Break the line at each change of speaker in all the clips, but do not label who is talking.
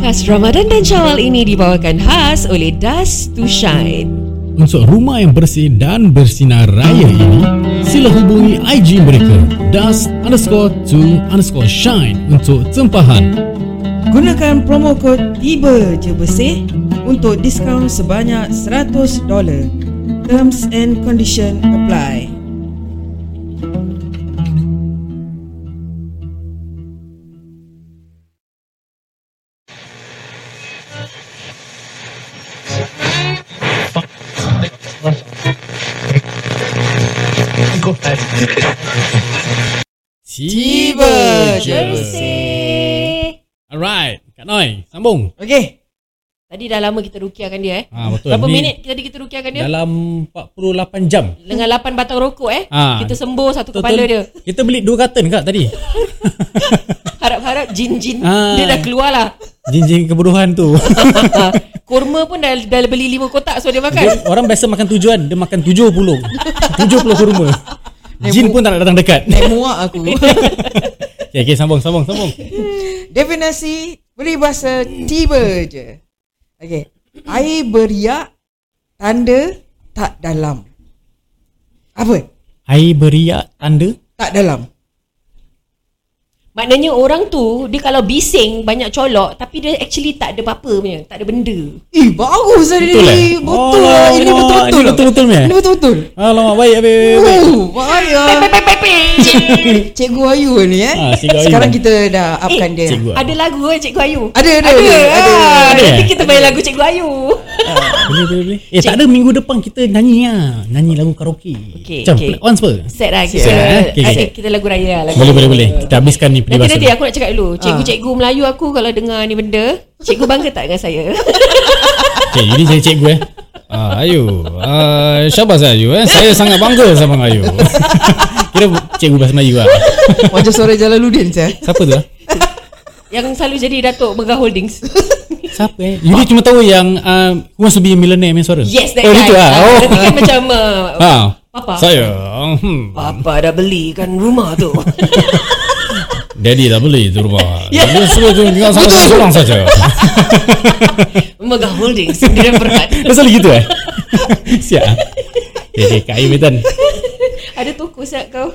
khas Ramadan dan Syawal ini dibawakan khas oleh Dust to Shine.
Untuk rumah yang bersih dan bersinar raya ini, sila hubungi IG mereka dust underscore to underscore shine untuk tempahan.
Gunakan promo kod tiba je bersih untuk diskaun sebanyak $100. Terms and condition apply. Tiba je
Bersih.
Alright, Kak Noi, sambung.
Okey.
Tadi dah lama kita rukiahkan dia eh.
Ah betul.
Berapa
Ni
minit tadi kita rukiahkan dia?
Dalam 48 jam.
Dengan 8 batang rokok eh.
Ah.
Kita sembur satu kepala dia.
Kita beli dua carton Kak tadi.
Harap-harap jin-jin
Ah.
dia dah keluar lah.
Jinjing keburuhan tu.
Kurma pun dah, dah beli 5 kotak so dia makan.
Dia, orang biasa makan tujuan, dia makan 70. 70 kurma. Jin pun tak nak datang dekat.
Naik muak aku.
Okay, okay sambung, sambung, sambung.
Definisi peribahasa tiba je. Okey. Air beriak tanda tak dalam. Apa?
Air beriak tanda
Tak dalam.
Maknanya orang tu dia kalau bising banyak colok tapi dia actually tak ada apa-apa punya, tak ada benda.
Eh, bagus tadi. Betul,
eh?
betul
Oh,
lah. Ini
oh,
betul-betul.
ini betul-betul punya?
Ini betul-betul.
Alamak, baik, baik, baik, baik.
Oh, bahaya.
Cik-
Cikgu Ayu ni eh.
Ah, Cikgu Ayu.
Sekarang kita dah upkan
Eh,
dia.
Cikgu.
Ada lagu ke Cikgu Ayu?
Ada, ada,
Ada.
ada, ada. Ah.
ah.
Ada,
Nanti
eh?
kita main lagu Cikgu Ayu.
Boleh, boleh, boleh. Eh, tak ada minggu depan kita nyanyi lah. Nyanyi lagu karaoke.
Okey,
Macam
okey.
okay. once per.
Set lah kita.
Set, eh?
Asyik,
Okay, okay.
Kita lagu raya lah. Lagu raya.
Boleh, boleh, boleh. Kita habiskan ni
Nanti
peribahasa.
nanti aku nak cakap
Ah.
dulu. Cikgu-cikgu Melayu aku kalau dengar ni benda, cikgu bangga tak dengan saya?
Okay, ini saya cikgu eh. Ah, Ayu. Ah, syabas Ayu eh. Saya sangat bangga sama Ayu. Kira cikgu bahasa Melayu lah.
Macam suara Jalaluddin saya.
Siapa tu lah?
Yang selalu jadi Datuk Mega Holdings.
Siapa eh? Yudi cuma tahu yang uh, Who wants to be a millionaire main suara?
Yes, that
oh,
guy.
Itu lah.
Ah,
Oh.
Nanti kan macam uh,
Ha.
Papa.
Saya. Hmm.
Papa dah belikan rumah tu.
Daddy tak boleh tu rumah. Yeah. Dia suruh tu tinggal sama saya seorang saja.
Mega Holdings sendirian berat.
Dia selalu gitu eh? Siap. Okay, okay, Kak Ayu Medan.
Ada toko siap kau.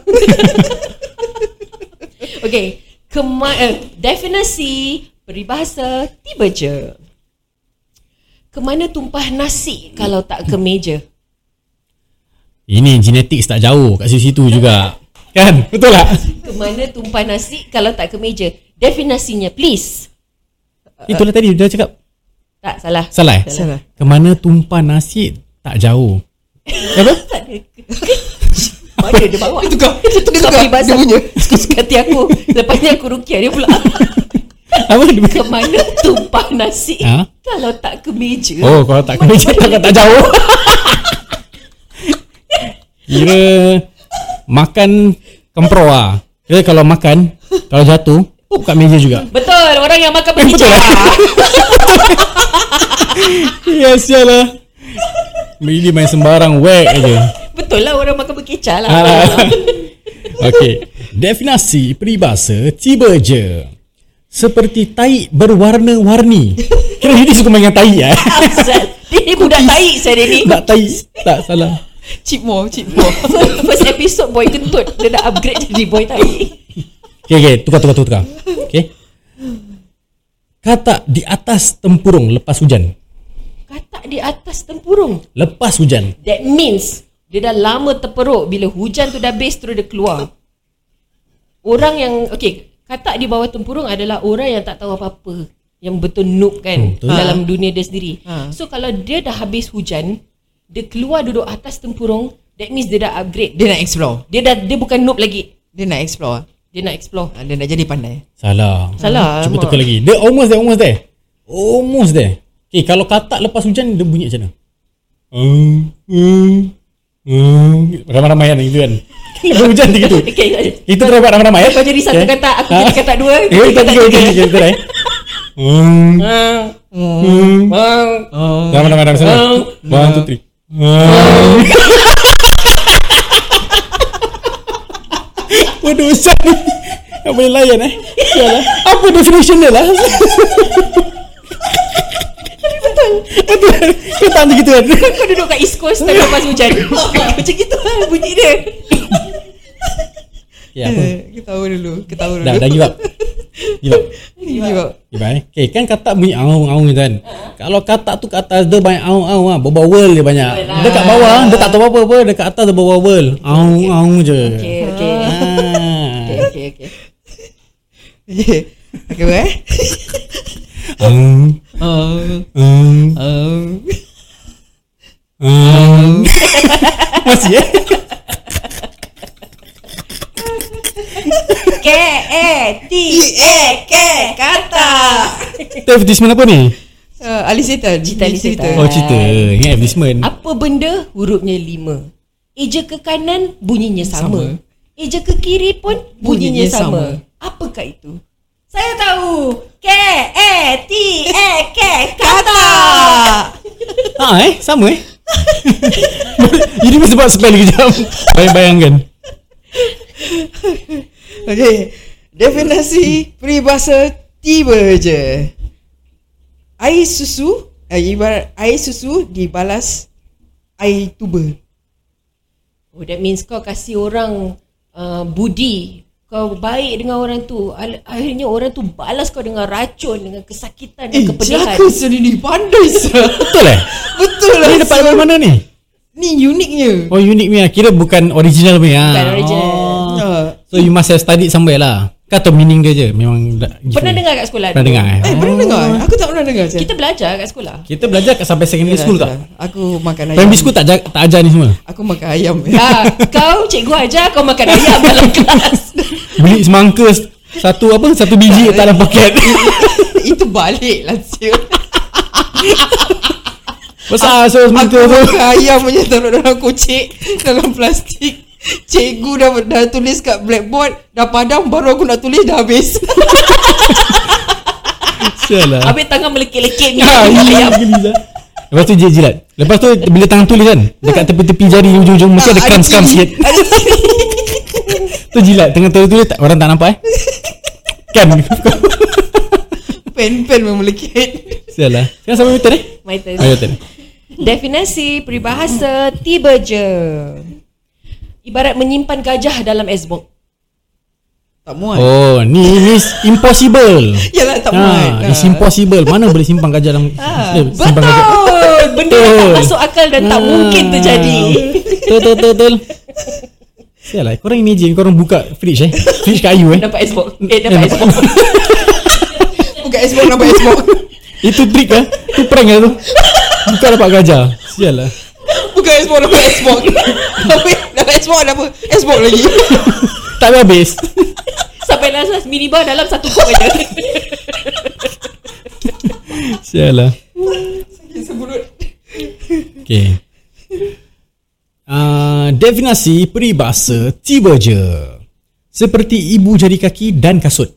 okay. Kema eh, definisi peribahasa tiba je. Kemana tumpah nasi kalau tak ke meja?
Ini genetik tak jauh kat situ-situ juga. Kan? Betul tak?
Kemana tumpah nasi kalau tak ke meja? Definisinya please.
Itulah lah tadi dia cakap.
Tak salah.
Salah eh?
Salah.
Kemana tumpah nasi tak jauh. Apa?
Tak ada. Mana dia bawa? Dia tukar. Dia tukar
tukar
peribahasa.
dia punya.
Suka hati aku. Lepas ni aku rukiah dia pula.
Apa?
Kemana tumpah nasi
Ha?
kalau tak ke meja?
Oh, kalau tak kena cerita kau tak jauh. Kira makan kempro ah. Kira kalau makan, kalau jatuh, oh kat meja juga.
Betul. Orang yang makan
Eh, betul
berhijab.
lah. Ya sial lah. Really main sembarang whack aja.
Betul lah orang makan berkecah lah.
Ah. Okey. Definasi peribahasa tiba je. Seperti tai berwarna-warni. Kira ini suka main dengan tai ya.
Asal. Dia ni budak tahi saya dia ni.
Tak tai, tak salah.
Cip Mo, Cip Mo.
First episode boy kentut. Dia dah upgrade jadi boy tahi.
Okay, okay. Tukar, tukar, tukar, tukar. Okay. Katak di atas tempurung lepas hujan.
Katak di atas tempurung.
Lepas hujan.
That means dia dah lama terperuk bila hujan tu dah habis terus dia keluar. Orang yang okay, katak di bawah tempurung adalah orang yang tak tahu apa-apa. Yang betul noob kan
Hmm, Betul.
dalam dunia dia sendiri.
Ha.
So kalau dia dah habis hujan, dia keluar duduk atas tempurung, that means dia dah upgrade.
Dia nak explore.
Dia dah dia bukan noob lagi.
Dia nak explore.
Dia nak explore.
Ah, Dia nak jadi pandai.
Salah.
Salah,
Cuba
alamak.
tukar lagi. Dia almost there, almost there. Almost there. Okay, kalau katak lepas hujan, dia bunyi macam mana? Hmm, hmm, hmm. Ramai-ramai kan gitu kan. Lepas hujan dia gitu.
Okay,
Itu kena buat ramai-ramai ya.
Kau jadi satu
Okay.
katak, aku
Ah.
jadi katak dua,
Eh,
kau
kita
katak
tiga, kita
tiga.
tiga, kita eh. Hmm,
Ah.
hmm. Ramai-ramai, ramai sana. One, two, three. Hmm. Waduh, Ustaz Ya ni. Tak boleh layan eh. Sial lah. Apa definition dia lah? datang tu gitu kan.
Kau duduk kat East Coast Tapi lepas hujan Macam gitu lah bunyi dia
Ya apa?
Ketawa Eh, dulu Ketawa dulu
Dah dah give up. Give up.
Give up.
Give up eh. Okay, kan katak bunyi aung-aung gitu kan. Kalau katak tu kat atas dia banyak aung-aung ah, bobol dia banyak. Dia kat bawah dia tak tahu apa apa, dia kat atas dia bobol. Aung-aung je.
Okay okay Okay
Ah.
okay, okay.
Okay Okay eh
Aung.
Oh
Aung.
Oh
Hmm. Masih eh?
K E T E K kata.
Itu advertisement apa ni?
uh, Ali Setan
Cerita Ali
Cerita.
Setan.
Oh cerita Ini
Eh.
advertisement
Apa benda hurufnya lima. Eja ke kanan bunyinya sama. Eja ke kiri pun bunyinya,
Bunyinya
sama. Apakah itu? Saya tahu. K E T E K kata.
Ah eh Sama eh Ini pun sebab spell kejap Bayang-bayangkan
Okay Definasi peribahasa Tiba je Air susu eh, Ibarat air susu dibalas Air tuba
Oh that means kau kasih orang uh, budi. Kau baik dengan orang tu. Al- Akhirnya orang tu balas kau dengan racun, dengan kesakitan dan
Eh
kepedihan.
celaka sendiri Pandai sah
Betul eh
Betul lah
Ini dapat dari mana ni
Ni uniknya
Oh unik punya Kira bukan original punya ah.
Bukan original.
Oh.
Ah.
So you must have studied somewhere lah Kata meaning dia je Memang dah-
Pernah dengar kat sekolah?
Pernah
dulu?
dengar eh
Eh pernah dengar Aku tak pernah dengar Cik.
Kita belajar kat sekolah.
Kita belajar kat sampai secondary school tak
Aku makan ayam
Primary school tak, ajar- tak ajar ni semua
Aku makan ayam
Ah, kau cikgu ajar kau makan ayam dalam kelas.
Beli semangka Satu apa Satu biji tak dalam paket
Itu balik lah Cik
Besar so
Aku
semangka tu
makan ayam punya taruh dalam kocek Dalam plastik Cikgu dah, dah tulis kat blackboard Dah padam baru aku nak tulis dah habis
Sialah
Habis tangan melekit-lekit ni.
Ha,
ayam.
geli lah. Lepas tu dia jilat. Lepas tu bila tangan tulis kan dekat tepi-tepi jari hujung-hujung mesti ada
Ah,
kram-kram
cili.
sikit.
Ada cili.
Tu jilat tengah tulis-tulis tak, orang tak nampak eh. Kan?
Pen-pen memang melekit
Sialah. Sekarang sampai meter eh?
My turn.
Ayo turn.
Definisi peribahasa tiba je. Ibarat menyimpan gajah dalam esbok.
Tak muat
Oh, ni is impossible.
Yalah Ya, tak muat Ah.
Ha, it's impossible. Mana boleh simpan gajah dalam eh, simpan gajah.
Betul. Benda yang tak
Betul.
masuk akal dan tak
Ah.
mungkin terjadi.
Betul betul betul, betul. Sialah, korang imagine korang buka fridge eh. Fridge kayu eh.
Dapat esbok. Eh, dapat esbok.
Bukan Xbox nampak Xbox
Itu trick eh. Itu prank eh tu. Buka dapat gajah. Sialah.
Bukan Xbox nampak Xbox Habis dalam Xbox ada apa Xbox lagi
Tak habis.
Sampai last last minibar dalam satu kop aja.
Sialah.
Sebelum
Okay. Uh, definasi peribahasa tiba je. Seperti ibu jari kaki dan kasut.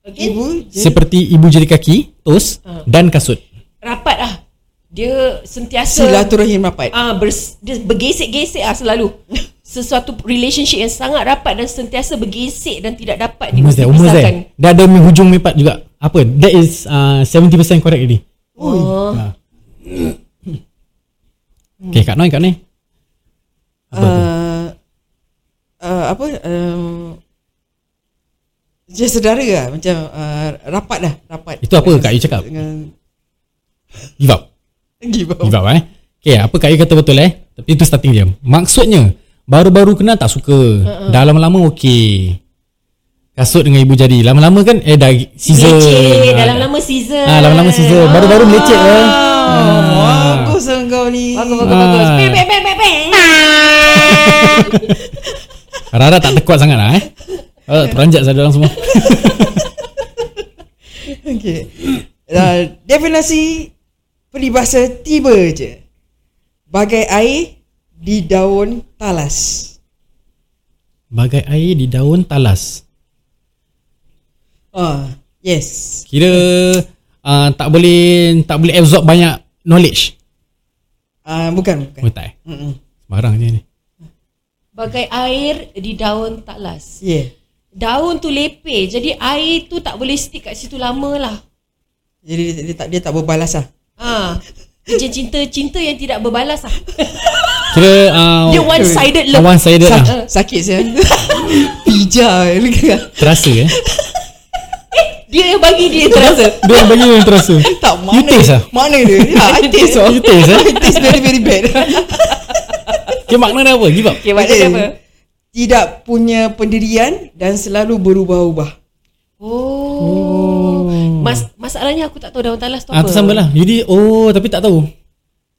Okay.
Ibu
Seperti ibu jari kaki, tos
Ah.
dan kasut.
Rapat ah. Dia sentiasa
Silaturahim rapat
ah bers, dia bergesek-gesek ah selalu. Sesuatu relationship yang sangat rapat dan sentiasa bergesek dan tidak dapat
Almost there, almost
dipisahkan.
there. Dah ada hujung mepat juga. Apa? That is uh, 70% correct already.
Oh.
Ha. Okay, Kak Noi, Kak Noi.
uh, uh, apa um, je saudara lah macam uh, rapat lah rapat
Itu apa Kak Yu cakap?
dengan
Give up.
give up
Give up eh. Okay, apa Kak Yu kata betul eh. Tapi itu starting je. Maksudnya, baru-baru kenal tak suka. Uh-uh. Dah lama-lama okey. Kasut dengan ibu jadi. Lama-lama kan, eh dah season.
Leceh dalam lama season.
Ah, lama-lama season. Baru-baru melecet eh.
oh, bagus lah kau ni
Bagus bagus bagus.
Ah.
Bang bang bang bang. bang.
Rara tak terkuat sangat lah eh. Oh, teranjat saya orang semua.
okay. Uh, definisi peribahasa tiba je bagai air di daun talas
Bagai air di daun talas.
ah yes
Kira uh, tak boleh tak boleh absorb banyak knowledge.
ah bukan bukan
Oh, tak eh.
Mm-mm.
Sembarang je ni.
Bagai air di daun talas.
yeah
Daun tu lepeh. Jadi air tu tak boleh stick kat situ lama lah.
jadi dia, dia tak dia tak berbalas lah
Ha. Macam cinta-cinta yang tidak berbalas lah.
Kira uh,
Dia one sided love.
One sided lah
Ah.
Sakit saya Pijar
Terasa eh
Dia yang bagi dia terasa.
Dia yang bagi yang terasa
Tak
You
mana
taste lah
Mana dia Ya I taste lah
You taste eh
I taste very very bad
Okay makna dia apa Give up
Okay, maknanya
Eh.
apa?
Tidak punya pendirian Dan selalu berubah-ubah
Oh. Mas, masalahnya aku tak tahu daun talas tu
Ah
apa.
tu sama lah Yudi oh tapi tak tahu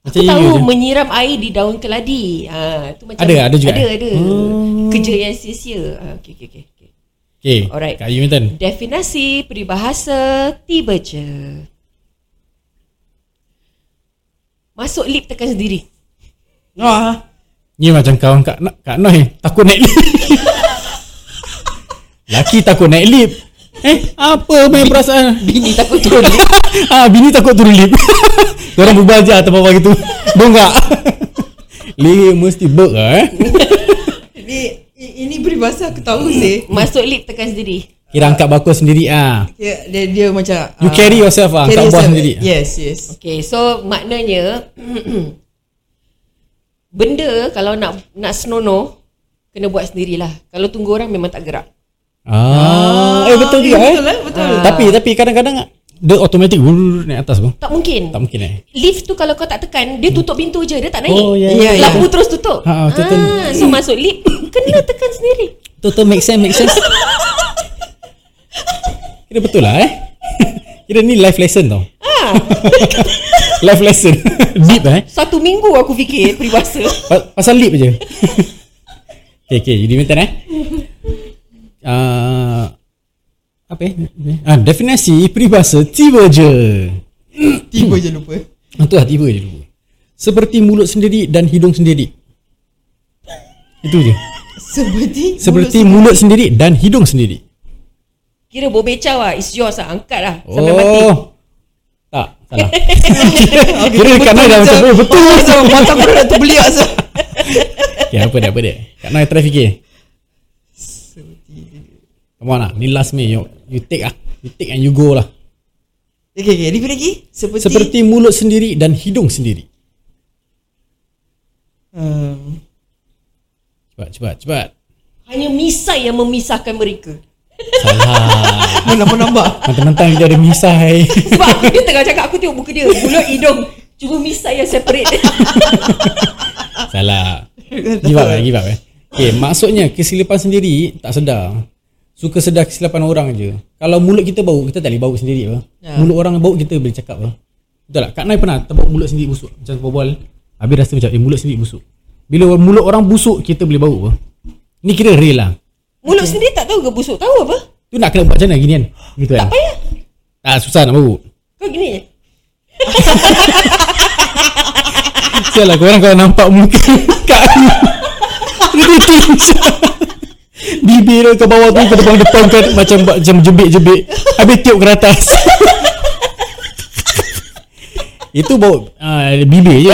Macam
Aku
you
tahu
je.
menyiram air di daun keladi. Ha, tu macam
Ada- ada juga,
Ada,
eh?
ada. Kerja yang sia-sia. Ha, okay, okay, okay, okay.
Okay
Alright.
Kak Yu Minton
Definasi peribahasa tiba je. Masuk lip tekan sendiri.
ah.
Ni macam kawan Kak, Na- Kak Noi Takut naik lip Laki takut naik lip Eh apa main perasaan
Bini takut turun
ah, Bini takut turun lip Korang berubah je atau apa gitu Dongak Lip mesti berk lah eh
Ini ini peribahasa aku
Hmm.
tahu sih
Masuk lip tekan sendiri.
Kira angkat bakul sendiri ah.
dia, dia, dia macam
You
ah,
carry yourself ah,
carry
angkat buah
yourself.
sendiri.
Yes yes
Okay, so maknanya benda kalau nak nak senonoh kena buat sendirilah. Kalau tunggu orang memang tak gerak.
Ah, eh betul juga eh.
betul, eh, betul.
Ah. Tapi tapi kadang-kadang dia automatic wul, naik atas pun.
Tak mungkin.
Tak mungkin eh.
Lift tu kalau kau tak tekan, dia tutup pintu je, dia tak naik.
Oh, ya,
ya, ya.
Lampu terus tutup.
Ha, tu tu.
Ah, so masuk lift kena tekan sendiri.
Tu tu make sense make sense. Kira betul lah eh. Kira ni life lesson tau.
Ah,
Life lesson. Deep eh.
satu minggu aku fikir peribahasa.
Pa- pasal lip je. okay, okay. You diminta eh. Uh, apa eh? Ah, definisi peribahasa tiba je.
Tiba je lupa
Ah, tu lah tiba je dulu. Seperti mulut sendiri dan hidung sendiri. Itu je.
Seperti
Seperti mulut sendiri dan hidung sendiri.
Kira bobecaw lah, it's yours lah, angkat lah
Oh.
sampai mati.
Tak, salah. Kira Kak Noi dah macam,
Macam-
"Oh, betul.
Macam Mata aku dah terbeliak sah
Okay, apa dia, apa dia? Kak Noi try fikir. Come on lah, ni last me. You, you take ah. You take and you go lah.
Okay okay Repeat lagi Seperti
Seperti mulut sendiri dan hidung sendiri.
um,
Cepat, cepat, cepat.
Hanya misai yang memisahkan mereka.
Salah.
Mana nampak
Mentang-mentang dia ada misai.
Sebab dia tengah cakap aku tengok muka dia, mulut hidung. Cuma misai yang separate.
Salah. Give up
lah.
eh, give up eh. Okay, maksudnya kesilapan sendiri tak sedar. Suka sedar kesilapan orang je. Kalau mulut kita bau, kita tak boleh bau sendiri apa. Ya. Mulut orang bau, kita boleh cakap apa. Betul tak? Kak Nai pernah terbau mulut sendiri busuk. Macam berbual. Habis rasa macam, eh mulut sendiri busuk. Bila mulut orang busuk, kita boleh bau apa. Ni kira real lah.
mulut sendiri tak tahu ke busuk, tahu apa?
Tu nak kena buat macam mana gini kan? Gitu kan?
Tak payah.
Ah, susah nak bau.
Kau gini je.
Sial lah korang kalau nampak muka Kak Ani Dia kincang Bibir dia ke bawah tu Ke depan-depan kan Macam buat macam jebit-jebit Habis tiup ke atas Itu bau uh, Bibir je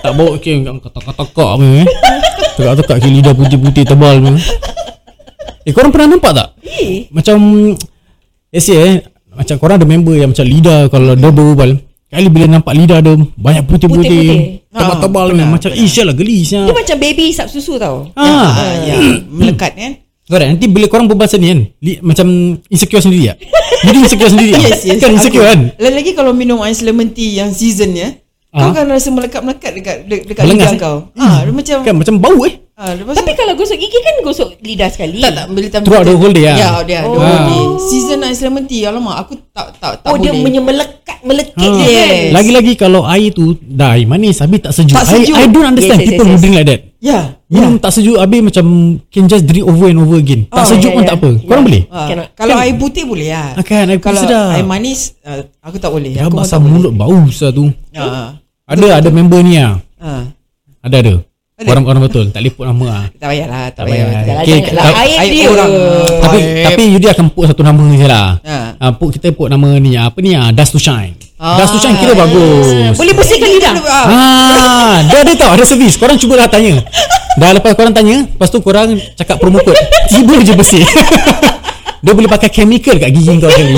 Tak bau okay, Katak-katak apa eh Tekak-tekak ke lidah putih-putih tebal tu Eh korang pernah nampak tak?
Eh,
Macam Let's say eh Macam korang ada member yang macam lidah Kalau dia berubal Kali bila nampak lidah dia Banyak putih-putih
Putih-putih.
Tebal-tebal ha, Macam ish lah gelis
dia
lah.
macam baby isap susu tau.
Ha.
Ah, ya, Melekat kan
Korang nanti bila korang berbual ni kan li, Macam insecure sendiri tak? Jadi insecure sendiri tak?
Yes yes
Kan insecure
Aku-
kan?
Lagi-lagi kalau minum ais lemon tea Yang season ya Kau
Ah.
kan rasa melekat-melekat Dekat de- dekat
Melengas,
lidah
eh?
kau Ah, dia macam
Kan macam bau eh
ah, lepas
Tapi kalau gosok gigi kan gosok lidah sekali.
Tak tak beli tambah
Throughout the whole day, ah?
Ya dia the
Oh.
whole day
Ah.
Season ice lemon tea Alamak aku tak tak tak
Oh, dia
boleh.
punya melekat, melekit
Ha.
je kan.
Yes.
Lagi-lagi kalau air tu Dah air manis Habis tak sejuk,
Tak sejuk.
I, I don't understand
Yes, yes,
people
yes,
who
yes.
drink like that
Ya
Minum tak sejuk Habis macam Can just drink over and over again Tak
Oh, ya,
sejuk pun
ya.
tak apa Korang
Ya.
boleh?
Ah,
Cannot.
Kalau air putih boleh lah
Ah, kan, air putih
Kalau
sedap.
air manis ah, Aku tak boleh
Ya,
Aku pun
basah
tak boleh
mulut bau besar tu.
Ah,
Ada ada member ni ah.
ah.
Ada ada. Orang orang betul, tak liput nama ah.
Tak payahlah Tak
Tak
payah
payah.
Jangan
Okay,
okay, janganlah
tak-
air,
Air
dia. Ha,
orang
Tapi tapi Yudi akan put satu nama je lah.
Ha.
Ah, put kita put nama ni ah, apa ni ah, Dust to Shine. Dust to Shine
Oh,
kira bagus.
Boleh bersihkan lidah.
Ah,
Ah, dia ada tau, ada servis. Korang cubalah tanya. Dah lepas korang tanya, lepas tu korang cakap promo code. Tiba je bersih. dia boleh pakai chemical kat gigi kau sekali.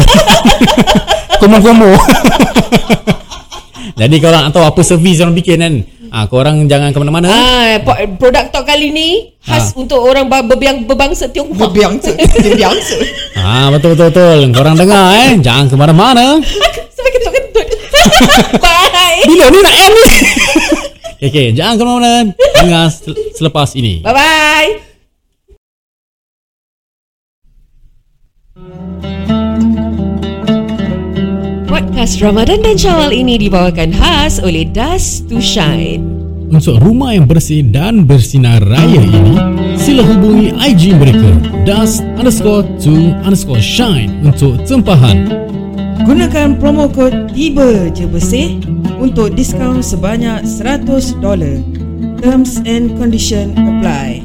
Komo-komo. Jadi korang nak tahu apa servis yang bikin kan. Ah ha, korang jangan ke mana-mana.
Ah, po- produk talk
Ha.
kali ni khas untuk orang ber- berbiang berbangsa Tionghoa.
Berbiangsa Berbiangsa
Ah betul betul betul. Korang dengar eh. Jangan ke mana-mana.
Sampai kentut-kentut. Bye.
Bila ni nak end ni? okay, okay, jangan ke mana-mana. Dengar sel- selepas ini.
Bye bye. Podcast Ramadan dan Syawal ini dibawakan khas oleh Dust to Shine.
Untuk rumah yang bersih dan bersinar raya ini, sila hubungi IG mereka dust underscore to underscore shine untuk tempahan.
Gunakan promo kod tiba je bersih untuk diskaun sebanyak $100. Terms and condition apply.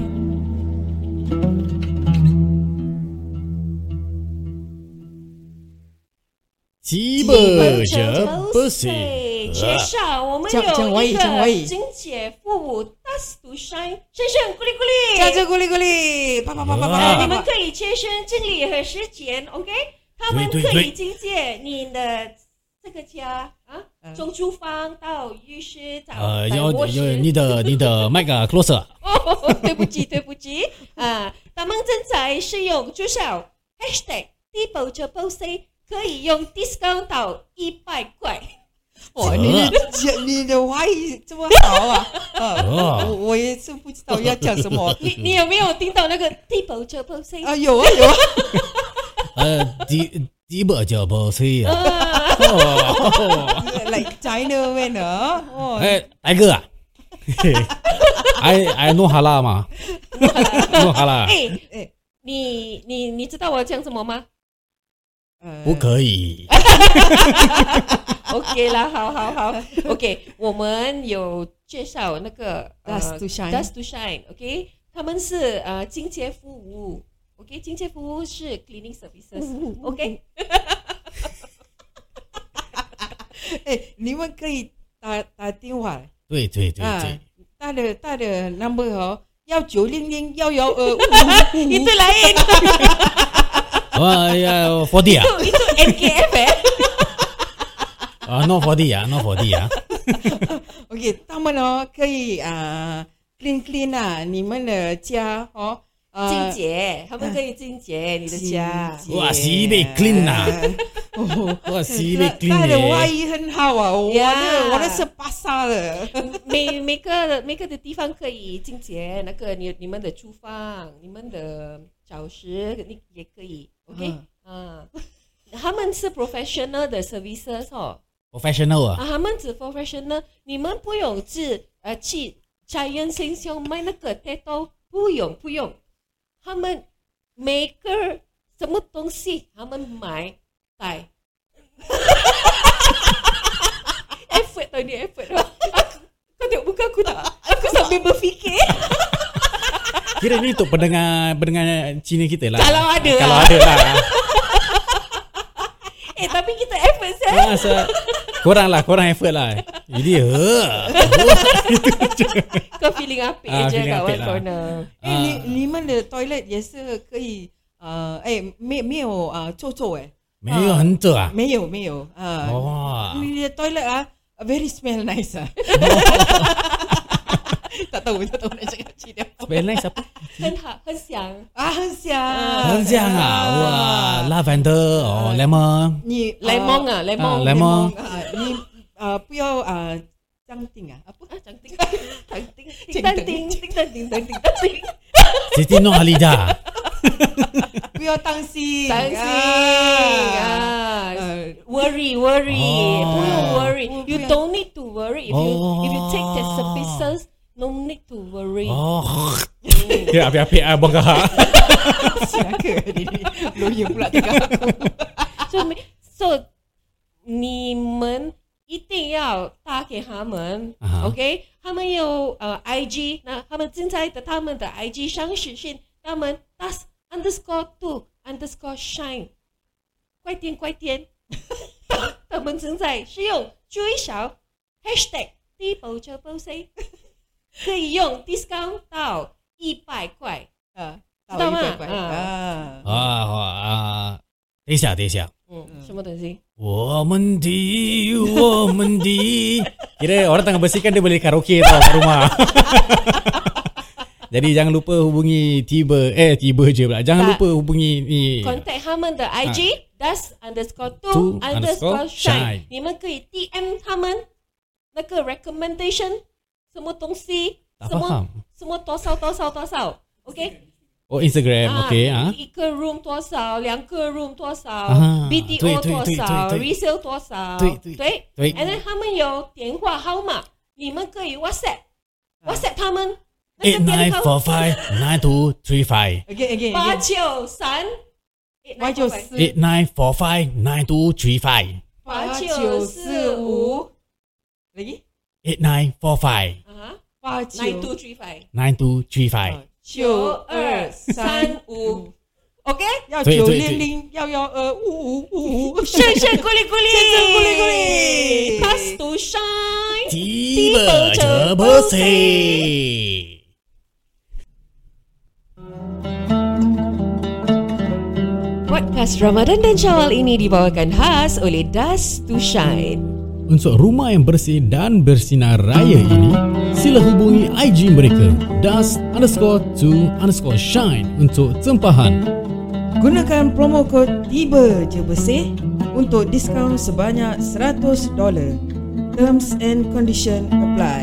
Tiba je bersih. Ha.
水，结上我们
讲-讲华语，讲华语。
dust to shine，先生，咕哩咕哩。
Caca-guli-guli Pa pa pa pa pa
呃，
啊
你们可以贴身敬礼和实践，OK？他们
对对
可以
对
经借你的这个家啊，从厨房到浴室，到
嗯呃，
百
要
货
要
室
你的你的麦克 closer。
哦，对不起，对不起啊！他们正在试用至少 hashtag 低保者 b o C 可以用 discount 到一百块。
哦，你的讲你的华语这么好啊！啊，
哦
我我也是不知道要讲什么
你你有没有听到那个低保者 b o C？
啊！有啊有啊，
呃，第第不就不吹啊。 Oh.
来 China man ha. Oh. 啊！哦，
哎，大哥 啊，哎哎，弄哈啦 嘛，弄哈啦，
哎
哎
你你你知道我要讲什么吗？
呃
不可以。
OK 啦，好好好，OK，我们有介绍那个呃
Dust to Shine
Dust to Shine，OK，、他们是呃清洁服务，OK，清洁服务是 cleaning services，OK，、
哎，你们可以打打电话
对对对
啊
对，，
他的他的 number ha. 哦，幺九零零幺幺二五 Mm-hmm.
itu lain
哎呀，forty Oh, ah. 啊，
itu NKF eh，
啊，no forty 啊，no forty 啊，
OK，他们哦可以啊 clean clean 啊，你们的家哦，呃
清洁，他们可以清洁你的家。
清洁
哇洗被 clean 啊
Oh,
哦。
我洗被
他
clean eh.
的外
的，
衣很好啊，我的
Yeah
我的是巴萨的，
每每个每个的地方可以清洁，那个你你们的厨房、你们的早食，你也可以，OK，嗯、
Uh.
Uh. 他们是 professional 的 services 哦，
professional ah. 啊，
啊，他们只 professional，你们不用去呃去 Giant 先生卖那个 tattoo，不用不用，他们每个什么东西他们买带。effort tau ni effort 啊 tau. Aku, kau tengok muka aku tak? Aku sambil berfikir.
kira ni untuk pendengar pendengar Cina kita lah.
Kalau ada
Kalau
lah.
ada lah.
Eh tapi kita effort sah.
Korang rasa- Korang lah, korang effort lah. Jadi, ha.
Kau feeling apik
Ah,
je
feeling
kat
apik
one
lah.
corner.
哎、你你们的 toilet 也是可以，呃，哎，没没有啊、呃臭臭哎，
没
ah.
有很准啊。
没有没有啊，
哇，
你的 toilet 啊，very smell nice 啊，tak tahu tak tahu nak cakap Cina
balance apa?
很好，很香。
啊，很香，
Ah.
很香啊，哇，，lavender 哦，lemon
你
雷蒙啊，
啊
雷
啊
蒙。
，lemon
啊，你啊不要啊，张定啊，啊不，
啊，长丁，长丁，叮当叮，叮当叮当叮当叮，
Siti Nurhalidah
不要当心，
伤心啊
呃
，worry worry，
哦
不用 worry，you
不用
don't need to worry if you if you take the
哦
services。No need to worry.
Oh Dia api-api ah buang kah
Siaka ni ni. Lawyer pula tengah aku.
So me- so 你们一定要打给他们、
啊哈
o k 他们有呃 IG，那他们正在的他们的 IG 上实现他们 das underscore two underscore shine，快点快点， 他们正在使用最少 hashtag 低保车 b o C，可以用 discount 到一百块。
Ah,
Tahu you
tahu ni
baik-baik.
baik-baik. Ah.
啊啊！等一下，等一下，
嗯，什么东西？
我们的，我们的。Kira orang tengah bersihkan dia boleh karaoke tau kat rumah. Jadi jangan lupa hubungi tiba eh tiba je pula. Jangan
Tak.
lupa hubungi ni.
Contact 他们的 IG、das underscore
Two
two underscore
underscore
shine，
shine
你们可以 DM 他们那个 recommendation 什么东西，
Tak
什么
faham.
什么多少多少多少，OK
Oh Instagram, okay ah.
一个 room 多少，两个 room 多少、
啊
b d
对
o
对
多
对
少
对对
，resale 多少，
对对
对
对
and then 他们有电话号码，你们可以 WhatsApp，WhatsApp 他们那
Eight
个电
nine
话
four five nine two three five.
Again, again,
八
again.
九三，
八九四
Eight nine four five nine two three five.
八九四五
Lagi?
Eight nine four five
啊
八九
，nine two three five。
nine two three five.
九二三五，
，OK？要
对
九
对
零零幺幺二五五五五，
圣圣咕哩咕哩，
圣圣咕哩咕哩
，Pass to shine。
Tiba je bersih.
Podcast Ramadan dan Syawal ini dibawakan khas oleh Das to Shine.
Untuk rumah yang bersih dan bersinar raya ini, sila hubungi IG mereka das underscore to underscore shine untuk tempahan.
Gunakan promo kod tiba je bersih untuk diskaun sebanyak $100. Terms and condition apply.